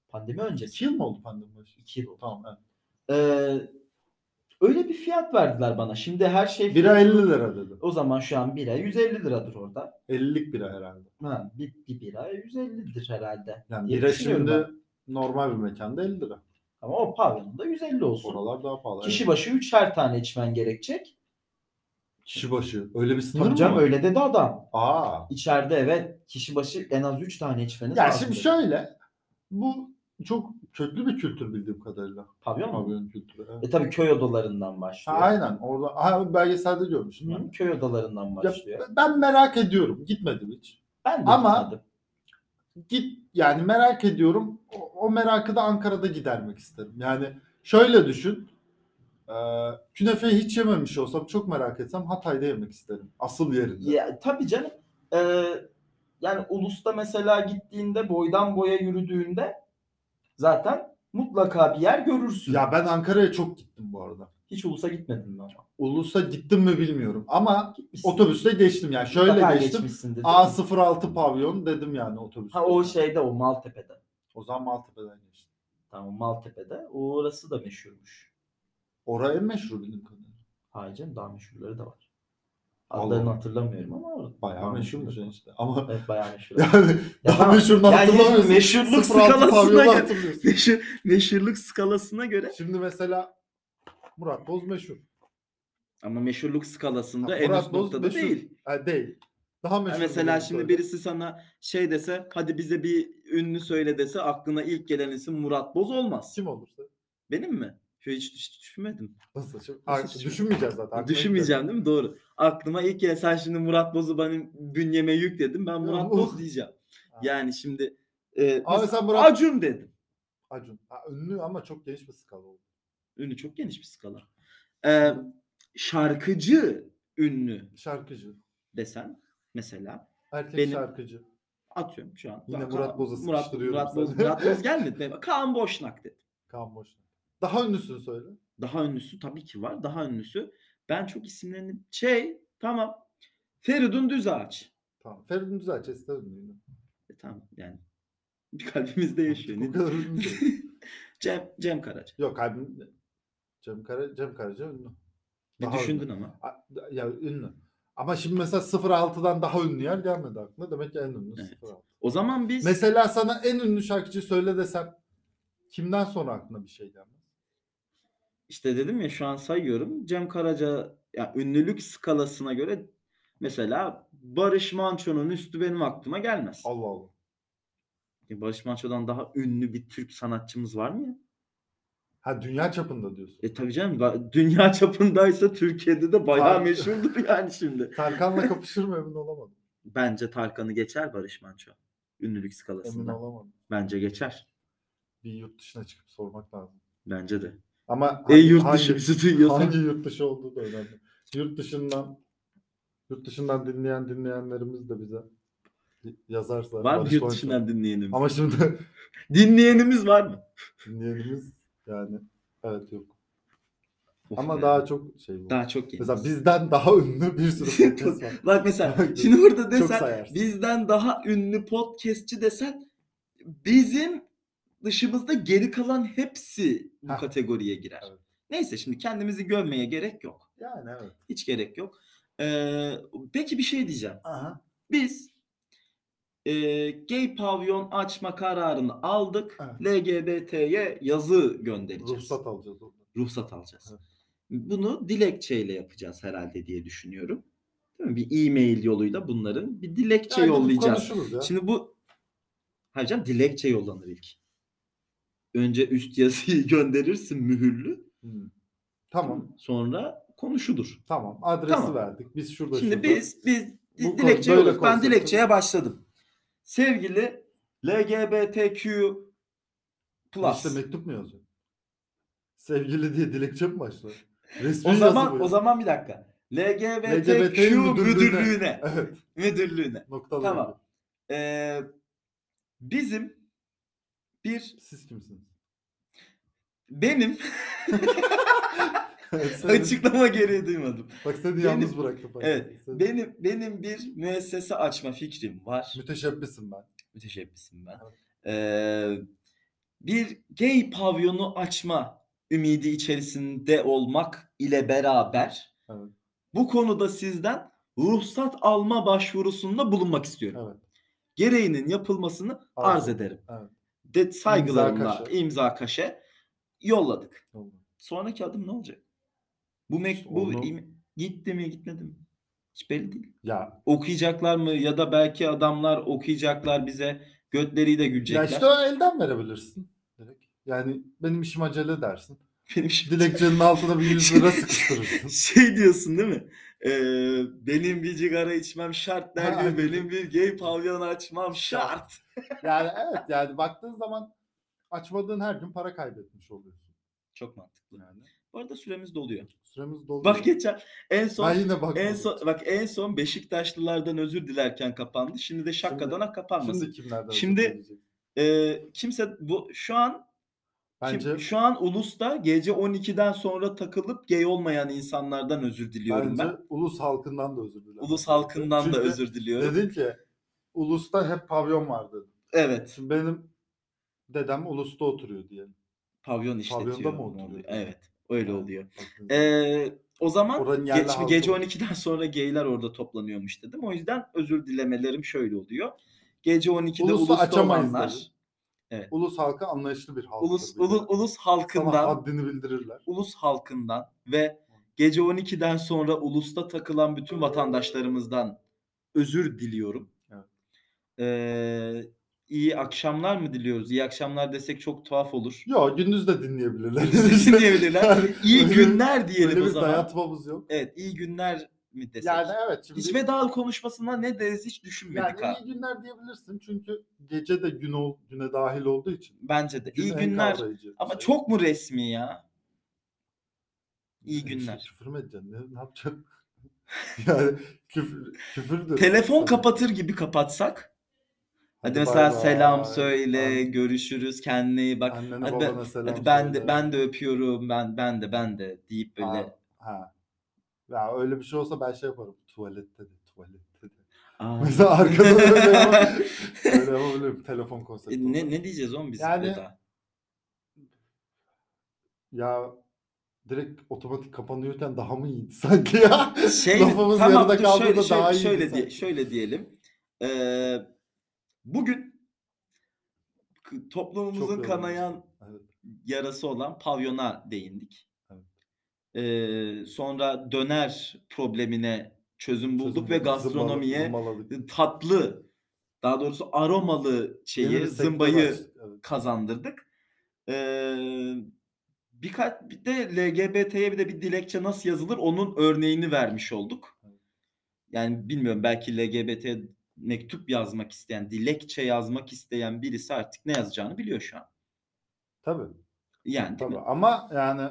[SPEAKER 2] Pandemi öncesi.
[SPEAKER 1] 2 yıl mı oldu pandemi başı?
[SPEAKER 2] 2 yıl oldu.
[SPEAKER 1] Tamam evet.
[SPEAKER 2] Ee, öyle bir fiyat verdiler bana. Şimdi her şey
[SPEAKER 1] Bira 50 lira dedi.
[SPEAKER 2] O zaman şu an bira 150 liradır orada.
[SPEAKER 1] 50'lik bira herhalde.
[SPEAKER 2] Ha, bir, bir bira 150'dir herhalde.
[SPEAKER 1] Yani
[SPEAKER 2] Diye
[SPEAKER 1] bira
[SPEAKER 2] düşünüyorum
[SPEAKER 1] şimdi normal bir mekanda 50 lira.
[SPEAKER 2] Ama o pavyonda 150 olsun.
[SPEAKER 1] Oralar daha pahalı.
[SPEAKER 2] Kişi
[SPEAKER 1] evet.
[SPEAKER 2] başı üçer tane içmen gerekecek.
[SPEAKER 1] Kişi başı. Öyle bir sınır
[SPEAKER 2] Tabii
[SPEAKER 1] mı
[SPEAKER 2] canım
[SPEAKER 1] var?
[SPEAKER 2] öyle dedi adam.
[SPEAKER 1] Aa.
[SPEAKER 2] İçeride evet kişi başı en az 3 tane içmeniz
[SPEAKER 1] Ya
[SPEAKER 2] lazım
[SPEAKER 1] şimdi
[SPEAKER 2] dedi.
[SPEAKER 1] şöyle. Bu çok köklü bir kültür bildiğim kadarıyla.
[SPEAKER 2] Pavyon mu?
[SPEAKER 1] Pavyon kültürü. evet.
[SPEAKER 2] E tabii köy odalarından
[SPEAKER 1] Ha,
[SPEAKER 2] başlıyor.
[SPEAKER 1] aynen. Orada ha, belgeselde görmüştüm ben.
[SPEAKER 2] Hı, köy odalarından
[SPEAKER 1] Ya,
[SPEAKER 2] başlıyor.
[SPEAKER 1] ben merak ediyorum. Gitmedim hiç.
[SPEAKER 2] ben de
[SPEAKER 1] ama-
[SPEAKER 2] gitmedim.
[SPEAKER 1] git yani merak ediyorum. O, o merakı da Ankara'da gidermek isterim. Yani şöyle düşün. Ee, künefeyi hiç yememiş olsam çok merak etsem Hatay'da yemek isterim. Asıl yerinde.
[SPEAKER 2] Ya, tabii canım. Ee, yani ulusta mesela gittiğinde boydan boya yürüdüğünde zaten mutlaka bir yer görürsün.
[SPEAKER 1] Ya ben Ankara'ya çok gittim bu arada.
[SPEAKER 2] Hiç ulusa gitmedin mi ama?
[SPEAKER 1] Ulus'a gittim mi bilmiyorum ama
[SPEAKER 2] Gitmişsin.
[SPEAKER 1] otobüste geçtim yani. Şöyle
[SPEAKER 2] Mutlaka
[SPEAKER 1] geçtim.
[SPEAKER 2] geçmişsindir, değil mi?
[SPEAKER 1] A06 pavyon dedim yani otobüste.
[SPEAKER 2] Ha o şey. şeyde o Maltepe'de.
[SPEAKER 1] O zaman Maltepe'den geçtim.
[SPEAKER 2] Tamam Maltepe'de. Orası da meşhurmuş.
[SPEAKER 1] Oraya en meşhur bildiğim kadarıyla.
[SPEAKER 2] Hayır canım daha meşhurları da var.
[SPEAKER 1] Allah
[SPEAKER 2] Adlarını
[SPEAKER 1] Allah.
[SPEAKER 2] hatırlamıyorum ama orada.
[SPEAKER 1] Bayağı meşhurmuş işte. Ama
[SPEAKER 2] Evet bayağı meşhur.
[SPEAKER 1] <laughs> yani
[SPEAKER 2] Ya
[SPEAKER 1] daha
[SPEAKER 2] tamam.
[SPEAKER 1] meşhurunu
[SPEAKER 2] Yani
[SPEAKER 1] hatırlamıyorsun.
[SPEAKER 4] meşhurluk
[SPEAKER 1] 06 pavyonu
[SPEAKER 4] skalasına göre-
[SPEAKER 1] hatırlıyorsun.
[SPEAKER 2] <laughs>
[SPEAKER 4] Meşhur, meşhurluk skalasına göre.
[SPEAKER 1] Şimdi mesela Murat Boz meşhur.
[SPEAKER 2] Ama meşhurluk skalasında
[SPEAKER 1] Ha,
[SPEAKER 2] en
[SPEAKER 1] Murat
[SPEAKER 2] üst
[SPEAKER 1] Boz
[SPEAKER 2] noktada
[SPEAKER 1] meşhur-
[SPEAKER 2] değil.
[SPEAKER 1] Ha, değil. Daha
[SPEAKER 2] Ha,
[SPEAKER 1] meşhur.
[SPEAKER 2] mesela
[SPEAKER 1] birini
[SPEAKER 2] şimdi
[SPEAKER 1] söyle.
[SPEAKER 2] birisi sana şey dese hadi bize bir ünlü söyle dese aklına ilk gelen isim Murat Boz olmaz.
[SPEAKER 1] kim olursa. Benim
[SPEAKER 2] mi? Şu hiç düş- düşünmedim.
[SPEAKER 1] Nasıl? Şimdi,
[SPEAKER 2] Nasıl
[SPEAKER 1] Ay,
[SPEAKER 2] düşün-
[SPEAKER 1] düşünmeyeceğiz zaten. Aklına
[SPEAKER 2] Düşünmeyeceğim değil mi? Doğru. Aklıma ilk gelen sen şimdi Murat Boz'u benim bünyeme yükledin. Ben Murat
[SPEAKER 1] Uh.
[SPEAKER 2] Boz diyeceğim. Yani şimdi e,
[SPEAKER 1] Abi
[SPEAKER 2] mesela
[SPEAKER 1] sen Murat-
[SPEAKER 2] Acun dedim.
[SPEAKER 1] Acun. Ha, ünlü ama çok geniş bir skala oldu.
[SPEAKER 2] Ünlü çok geniş bir skala. E, şarkıcı ünlü
[SPEAKER 1] Şarkıcı.
[SPEAKER 2] desen mesela
[SPEAKER 1] Erkek
[SPEAKER 2] Benim-
[SPEAKER 1] şarkıcı.
[SPEAKER 2] atıyorum şu an.
[SPEAKER 1] Yine
[SPEAKER 2] Kaan-
[SPEAKER 1] Murat Boz'u
[SPEAKER 2] Murat,
[SPEAKER 1] sıkıştırıyorum
[SPEAKER 2] Murat Boz,
[SPEAKER 1] zaten. <laughs>
[SPEAKER 2] Murat Boz gelmedi. Kaan Boşnak dedim.
[SPEAKER 1] Kaan Boşnak. Daha ünlüsünü söyle.
[SPEAKER 2] Daha ünlüsü tabii ki var. Daha ünlüsü. Ben çok isimlerini şey tamam. Feridun Düzağaç.
[SPEAKER 1] Tamam. Feridun Düzağaç Ester ünlüydü.
[SPEAKER 2] E, tamam yani. <laughs> Bir kalbimizde yaşıyor.
[SPEAKER 1] Bu
[SPEAKER 2] Ne-
[SPEAKER 1] kadar ünlü değil.
[SPEAKER 2] <laughs> Cem, Cem Karaca.
[SPEAKER 1] Yok kalbim Cem, Kara, Cem Karaca ünlü.
[SPEAKER 2] Bir
[SPEAKER 1] Daha
[SPEAKER 2] düşündün ama.
[SPEAKER 1] A- Ya ünlü. Ama şimdi mesela 06'dan daha ünlü yer gelmedi aklına. Demek ki en ünlü
[SPEAKER 2] Evet.
[SPEAKER 1] 06.
[SPEAKER 2] O zaman biz
[SPEAKER 1] Mesela sana en ünlü şarkıcı söyle desem kimden sonra aklına bir şey gelmez?
[SPEAKER 2] işte dedim ya şu an sayıyorum. Cem Karaca ya ünlülük skalasına göre mesela Barış Manço'nun üstü benim aklıma gelmez.
[SPEAKER 1] Allah Allah.
[SPEAKER 2] Ya Barış Manço'dan daha ünlü bir Türk sanatçımız var mı ya?
[SPEAKER 1] Ha dünya çapında diyorsun.
[SPEAKER 2] E tabii canım ba- dünya çapındaysa Türkiye'de de bayağı
[SPEAKER 1] Tar-
[SPEAKER 2] meşhurdur <laughs> yani şimdi. <laughs>
[SPEAKER 1] Tarkan'la kapışır mı emin olamadım.
[SPEAKER 2] Bence Tarkan'ı geçer Barış Manço. Ünlülük
[SPEAKER 1] Emin
[SPEAKER 2] skalasında.
[SPEAKER 1] olamadım.
[SPEAKER 2] Bence geçer.
[SPEAKER 1] Bir yurt dışına çıkıp sormak lazım.
[SPEAKER 2] Ama de.
[SPEAKER 1] Ama
[SPEAKER 2] E
[SPEAKER 1] hangi-
[SPEAKER 2] yurt
[SPEAKER 1] hangi-
[SPEAKER 2] dışı bizi duyuyorsa.
[SPEAKER 1] Hangi yurt dışı olduğu da önemli. Yurt dışından yurt dışından dinleyen dinleyenlerimiz de bize yazarsa.
[SPEAKER 2] Var mı
[SPEAKER 1] Barış
[SPEAKER 2] yurt
[SPEAKER 1] Manço.
[SPEAKER 2] dışından dinleyenimiz?
[SPEAKER 1] Ama şimdi
[SPEAKER 2] Dinleyenimiz var mı?
[SPEAKER 1] dinleyenimiz yani evet yok.
[SPEAKER 2] Of
[SPEAKER 1] Ama
[SPEAKER 2] be.
[SPEAKER 1] daha çok şey var.
[SPEAKER 2] daha çok iyi.
[SPEAKER 1] Mesela bizden daha ünlü bir
[SPEAKER 2] <laughs>
[SPEAKER 1] sürü podcast var.
[SPEAKER 2] Bak mesela şimdi
[SPEAKER 1] <laughs>
[SPEAKER 2] burada
[SPEAKER 1] Çok
[SPEAKER 2] desen
[SPEAKER 1] sayarsın.
[SPEAKER 2] bizden daha ünlü podcastçi desen bizim dışımızda geri kalan hepsi bu
[SPEAKER 1] Heh.
[SPEAKER 2] kategoriye girer.
[SPEAKER 1] Evet.
[SPEAKER 2] Neyse şimdi kendimizi gömmeye gerek yok.
[SPEAKER 1] Yani evet.
[SPEAKER 2] Hiç gerek yok. Ee, peki bir şey diyeceğim.
[SPEAKER 1] Aha.
[SPEAKER 2] Biz e, gay pavyon açma kararını aldık.
[SPEAKER 1] Evet.
[SPEAKER 2] LGBT'ye yazı göndereceğiz.
[SPEAKER 1] Ruhsat alacağız ondan.
[SPEAKER 2] Ruhsat alacağız.
[SPEAKER 1] Evet.
[SPEAKER 2] Bunu dilekçeyle yapacağız herhalde diye düşünüyorum. Değil mi? Bir e-mail yoluyla bunların bir dilekçe
[SPEAKER 1] Yani gidip
[SPEAKER 2] yollayacağız.
[SPEAKER 1] Konuşuruz ya.
[SPEAKER 2] Şimdi bu Hayır canım dilekçe yollanır ilk. Önce üst yazıyı <laughs> gönderirsin mühürlü.
[SPEAKER 1] Hı. Hmm. Tamam.
[SPEAKER 2] Sonra konuşulur.
[SPEAKER 1] Tamam. Adresi
[SPEAKER 2] Tamam.
[SPEAKER 1] verdik. Biz şurada
[SPEAKER 2] Şimdi
[SPEAKER 1] şurada.
[SPEAKER 2] biz biz
[SPEAKER 1] Bu kon-
[SPEAKER 2] dilekçe
[SPEAKER 1] böyle
[SPEAKER 2] yolladık. Ben
[SPEAKER 1] konsepti-
[SPEAKER 2] dilekçeye başladım. Sevgili LGBTQ plus.
[SPEAKER 1] İşte mektup mu yazıyor? Sevgili diye dilekçe mi başlar? Resmi
[SPEAKER 2] O
[SPEAKER 1] yazı
[SPEAKER 2] zaman
[SPEAKER 1] bu
[SPEAKER 2] o
[SPEAKER 1] ya.
[SPEAKER 2] zaman bir dakika. LGBTQ
[SPEAKER 1] LGBTQ
[SPEAKER 2] müdürlüğüne
[SPEAKER 1] Evet.
[SPEAKER 2] müdürlüğüne.
[SPEAKER 1] Noktalı.
[SPEAKER 2] Tamam.
[SPEAKER 1] virgül.
[SPEAKER 2] Ee, bizim bir
[SPEAKER 1] Siz kimsiniz? <laughs>
[SPEAKER 2] benim <laughs>
[SPEAKER 1] Seni-
[SPEAKER 2] açıklama gereği duymadım.
[SPEAKER 1] Bak seni yalnız bıraktım. fark
[SPEAKER 2] Evet.
[SPEAKER 1] ettim. Sen-
[SPEAKER 2] Benim benim bir müessese açma fikrim var.
[SPEAKER 1] Müteşebbisim ben.
[SPEAKER 2] müteşebbisim ben.
[SPEAKER 1] Evet.
[SPEAKER 2] Ee, bir gay pavyonu açma ümidi içerisinde olmak ile beraber
[SPEAKER 1] Evet.
[SPEAKER 2] bu konuda sizden ruhsat alma başvurusunda bulunmak istiyorum.
[SPEAKER 1] Evet.
[SPEAKER 2] Gereğinin yapılmasını
[SPEAKER 1] Arz
[SPEAKER 2] arz ederim.
[SPEAKER 1] Evet.
[SPEAKER 2] De saygılarımla imza
[SPEAKER 1] kaşe.
[SPEAKER 2] kaşe. yolladık.
[SPEAKER 1] Oldu.
[SPEAKER 2] Sonraki adım ne olacak? Bu mek
[SPEAKER 1] İşte
[SPEAKER 2] bu
[SPEAKER 1] onu-
[SPEAKER 2] im- gitti mi gitmedi mi? Hiç belli değil.
[SPEAKER 1] Ya,
[SPEAKER 2] Okuyacaklar mı ya da belki adamlar okuyacaklar bize götleri de gülecekler.
[SPEAKER 1] ya işte o elden verebilirsin. Direkt. Yani benim işim acele dersin.
[SPEAKER 2] Benim şimdi
[SPEAKER 1] Dilekçenin altına bir 100 lira sıkıştırırsın.
[SPEAKER 2] <laughs> şey diyorsun değil mi? Ee, benim bir cigara içmem şart der
[SPEAKER 1] Ha,
[SPEAKER 2] gibi
[SPEAKER 1] aynen.
[SPEAKER 2] benim bir gay pavyon açmam şart.
[SPEAKER 1] Yani evet yani baktığın zaman açmadığın her gün para kaybetmiş oluyorsun.
[SPEAKER 2] Çok mantıklı.
[SPEAKER 1] Yani
[SPEAKER 2] Bu arada süremiz doluyor.
[SPEAKER 1] süremiz doldu.
[SPEAKER 2] Bak geçen en son
[SPEAKER 1] ben yine bakmadım.
[SPEAKER 2] en son bak en son Beşiktaşlılardan özür dilerken kapandı. Şimdi de şakadana kapanmasın.
[SPEAKER 1] Şimdi kimlerden özür
[SPEAKER 2] Şimdi-
[SPEAKER 1] dileyecek?
[SPEAKER 2] Ee, kimse bu şu an kim-
[SPEAKER 1] Bence
[SPEAKER 2] şu an ulusta gece 12'den sonra takılıp gay olmayan insanlardan özür diliyorum
[SPEAKER 1] Bence
[SPEAKER 2] ben.
[SPEAKER 1] ulus halkından da özür dilerim.
[SPEAKER 2] Ulus halkından
[SPEAKER 1] Çünkü
[SPEAKER 2] da özür diliyorum.
[SPEAKER 1] Dedin ki ulusta hep pavyon vardı.
[SPEAKER 2] Evet.
[SPEAKER 1] Şimdi benim dedem ulusta oturuyor diye.
[SPEAKER 2] Pavyon işletiyor.
[SPEAKER 1] Pavyonda mı
[SPEAKER 2] Ne
[SPEAKER 1] oturuyor?
[SPEAKER 2] oluyor? Evet. Öyle
[SPEAKER 1] Yani
[SPEAKER 2] oluyor.
[SPEAKER 1] baktığınız
[SPEAKER 2] Ee, o zaman
[SPEAKER 1] Oranın yerli
[SPEAKER 2] geç,
[SPEAKER 1] halkı
[SPEAKER 2] gece
[SPEAKER 1] var.
[SPEAKER 2] 12'den sonra geyler orada toplanıyormuş dedim. O yüzden özür dilemelerim şöyle oluyor. Gece 12'de
[SPEAKER 1] Ulusu
[SPEAKER 2] ulusta
[SPEAKER 1] açamayız
[SPEAKER 2] olanlar,
[SPEAKER 1] dedi. Ulus halkı anlayışlı bir halktır.
[SPEAKER 2] ulus,
[SPEAKER 1] bir de.
[SPEAKER 2] ulu- ulus
[SPEAKER 1] Sana
[SPEAKER 2] halkından,
[SPEAKER 1] haddini bildirirler.
[SPEAKER 2] ulus halkından ve Gece 12'den sonra ulusta takılan bütün vatandaşlarımızdan özür diliyorum.
[SPEAKER 1] Evet.
[SPEAKER 2] Ee, iyi akşamlar mı diliyoruz? İyi akşamlar desek çok
[SPEAKER 1] <laughs>
[SPEAKER 2] tuhaf olur.
[SPEAKER 1] Ya gündüz de dinleyebilirler.
[SPEAKER 2] Dinleyebilirler.
[SPEAKER 1] Yani
[SPEAKER 2] İyi
[SPEAKER 1] öyle-
[SPEAKER 2] günler diyelim
[SPEAKER 1] Öyle
[SPEAKER 2] o
[SPEAKER 1] bir
[SPEAKER 2] zaman.
[SPEAKER 1] dayatmamız yok.
[SPEAKER 2] Evet iyi günler mi desek?
[SPEAKER 1] Yani evet şimdi.
[SPEAKER 2] Hiç veda konuşmasından ne deriz hiç
[SPEAKER 1] yani
[SPEAKER 2] düşünmedik ha.
[SPEAKER 1] iyi günler diyebilirsin çünkü gece de gün ol, güne dahil olduğu için.
[SPEAKER 2] Bence de.
[SPEAKER 1] Gün
[SPEAKER 2] İyi
[SPEAKER 1] en
[SPEAKER 2] günler.
[SPEAKER 1] kavrayıcı
[SPEAKER 2] Ama
[SPEAKER 1] şey.
[SPEAKER 2] çok mu resmi ya? İyi
[SPEAKER 1] Yani işte
[SPEAKER 2] günler.
[SPEAKER 1] şey, Küfür mü edeceksin? Ne, ne yapacaksın? <laughs> yani küfür, küfür de-
[SPEAKER 2] Telefon
[SPEAKER 1] Hadi
[SPEAKER 2] kapatır gibi kapatsak. Hadi,
[SPEAKER 1] bay
[SPEAKER 2] mesela
[SPEAKER 1] bay.
[SPEAKER 2] selam söyle,
[SPEAKER 1] An-
[SPEAKER 2] görüşürüz, kendine iyi bak.
[SPEAKER 1] Annene
[SPEAKER 2] hadi ben-
[SPEAKER 1] babana selam
[SPEAKER 2] Hadi ben de
[SPEAKER 1] söyle.
[SPEAKER 2] ben de öpüyorum. Ben ben de ben de deyip böyle.
[SPEAKER 1] Ha, ha. Ya öyle bir şey olsa ben şey yaparım. Tuvalette de tuvalette de.
[SPEAKER 2] Aa,
[SPEAKER 1] Mesela arkada böyle
[SPEAKER 2] <laughs>
[SPEAKER 1] yapar- böyle yapabilirim. Telefon konsepti.
[SPEAKER 2] e, ne
[SPEAKER 1] olarak.
[SPEAKER 2] ne diyeceğiz oğlum biz
[SPEAKER 1] Yani-
[SPEAKER 2] burada?
[SPEAKER 1] Ya direkt otomatik kapanıyorken daha mı iyiydi <laughs> sanki ya?
[SPEAKER 2] Şey
[SPEAKER 1] Lafımız
[SPEAKER 2] tamam
[SPEAKER 1] yarıda
[SPEAKER 2] dur
[SPEAKER 1] kaldı
[SPEAKER 2] şöyle
[SPEAKER 1] da
[SPEAKER 2] şöyle,
[SPEAKER 1] daha iyiydi
[SPEAKER 2] şöyle, diye,
[SPEAKER 1] sanki.
[SPEAKER 2] şöyle diyelim. Ee, bugün k- toplumumuzun
[SPEAKER 1] Çok
[SPEAKER 2] kanayan
[SPEAKER 1] Evet.
[SPEAKER 2] yarası olan pavyona değindik.
[SPEAKER 1] Evet.
[SPEAKER 2] Ee, sonra döner problemine çözüm bulduk
[SPEAKER 1] Çözüm
[SPEAKER 2] ve
[SPEAKER 1] zımbala-
[SPEAKER 2] gastronomiye
[SPEAKER 1] zımbaladık.
[SPEAKER 2] tatlı daha doğrusu aromalı şeyi
[SPEAKER 1] Yeni bir sektör
[SPEAKER 2] zımbayı
[SPEAKER 1] açtık, evet.
[SPEAKER 2] kazandırdık. Ee, birkaç bir de LGBT'ye bir de bir dilekçe nasıl yazılır onun örneğini vermiş olduk. Yani bilmiyorum belki LGBT'ye mektup yazmak isteyen, dilekçe yazmak isteyen birisi artık ne yazacağını biliyor şu an.
[SPEAKER 1] Tabii.
[SPEAKER 2] Yani değil mi?
[SPEAKER 1] Tabii ama yani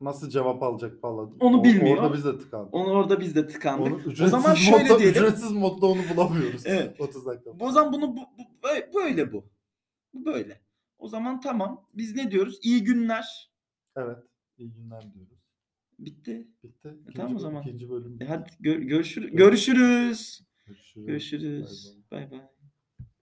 [SPEAKER 1] nasıl cevap alacak falan.
[SPEAKER 2] Onu
[SPEAKER 1] O-
[SPEAKER 2] bilmiyor.
[SPEAKER 1] Orada biz de tıkandık.
[SPEAKER 2] Onu orada biz de tıkandık.
[SPEAKER 1] Onu
[SPEAKER 2] o
[SPEAKER 1] ücretsiz <laughs>
[SPEAKER 2] zaman şöyle
[SPEAKER 1] modda,
[SPEAKER 2] diyelim.
[SPEAKER 1] ücretsiz modda onu bulamıyoruz.
[SPEAKER 2] Evet.
[SPEAKER 1] 30 dakika.
[SPEAKER 2] O zaman bunu bu, bu- bö- böyle bu. Bu böyle. O zaman tamam. Biz ne diyoruz? İyi günler.
[SPEAKER 1] Evet. İyi günler diyoruz.
[SPEAKER 2] Bitti.
[SPEAKER 1] Bitti. İkinci,
[SPEAKER 2] E, tamam o
[SPEAKER 1] böl-
[SPEAKER 2] zaman.
[SPEAKER 1] İkinci bölüm.
[SPEAKER 2] E hadi gö- görüşür- görüşürüz.
[SPEAKER 1] Görüşürüz.
[SPEAKER 2] Görüşürüz. Bay bay.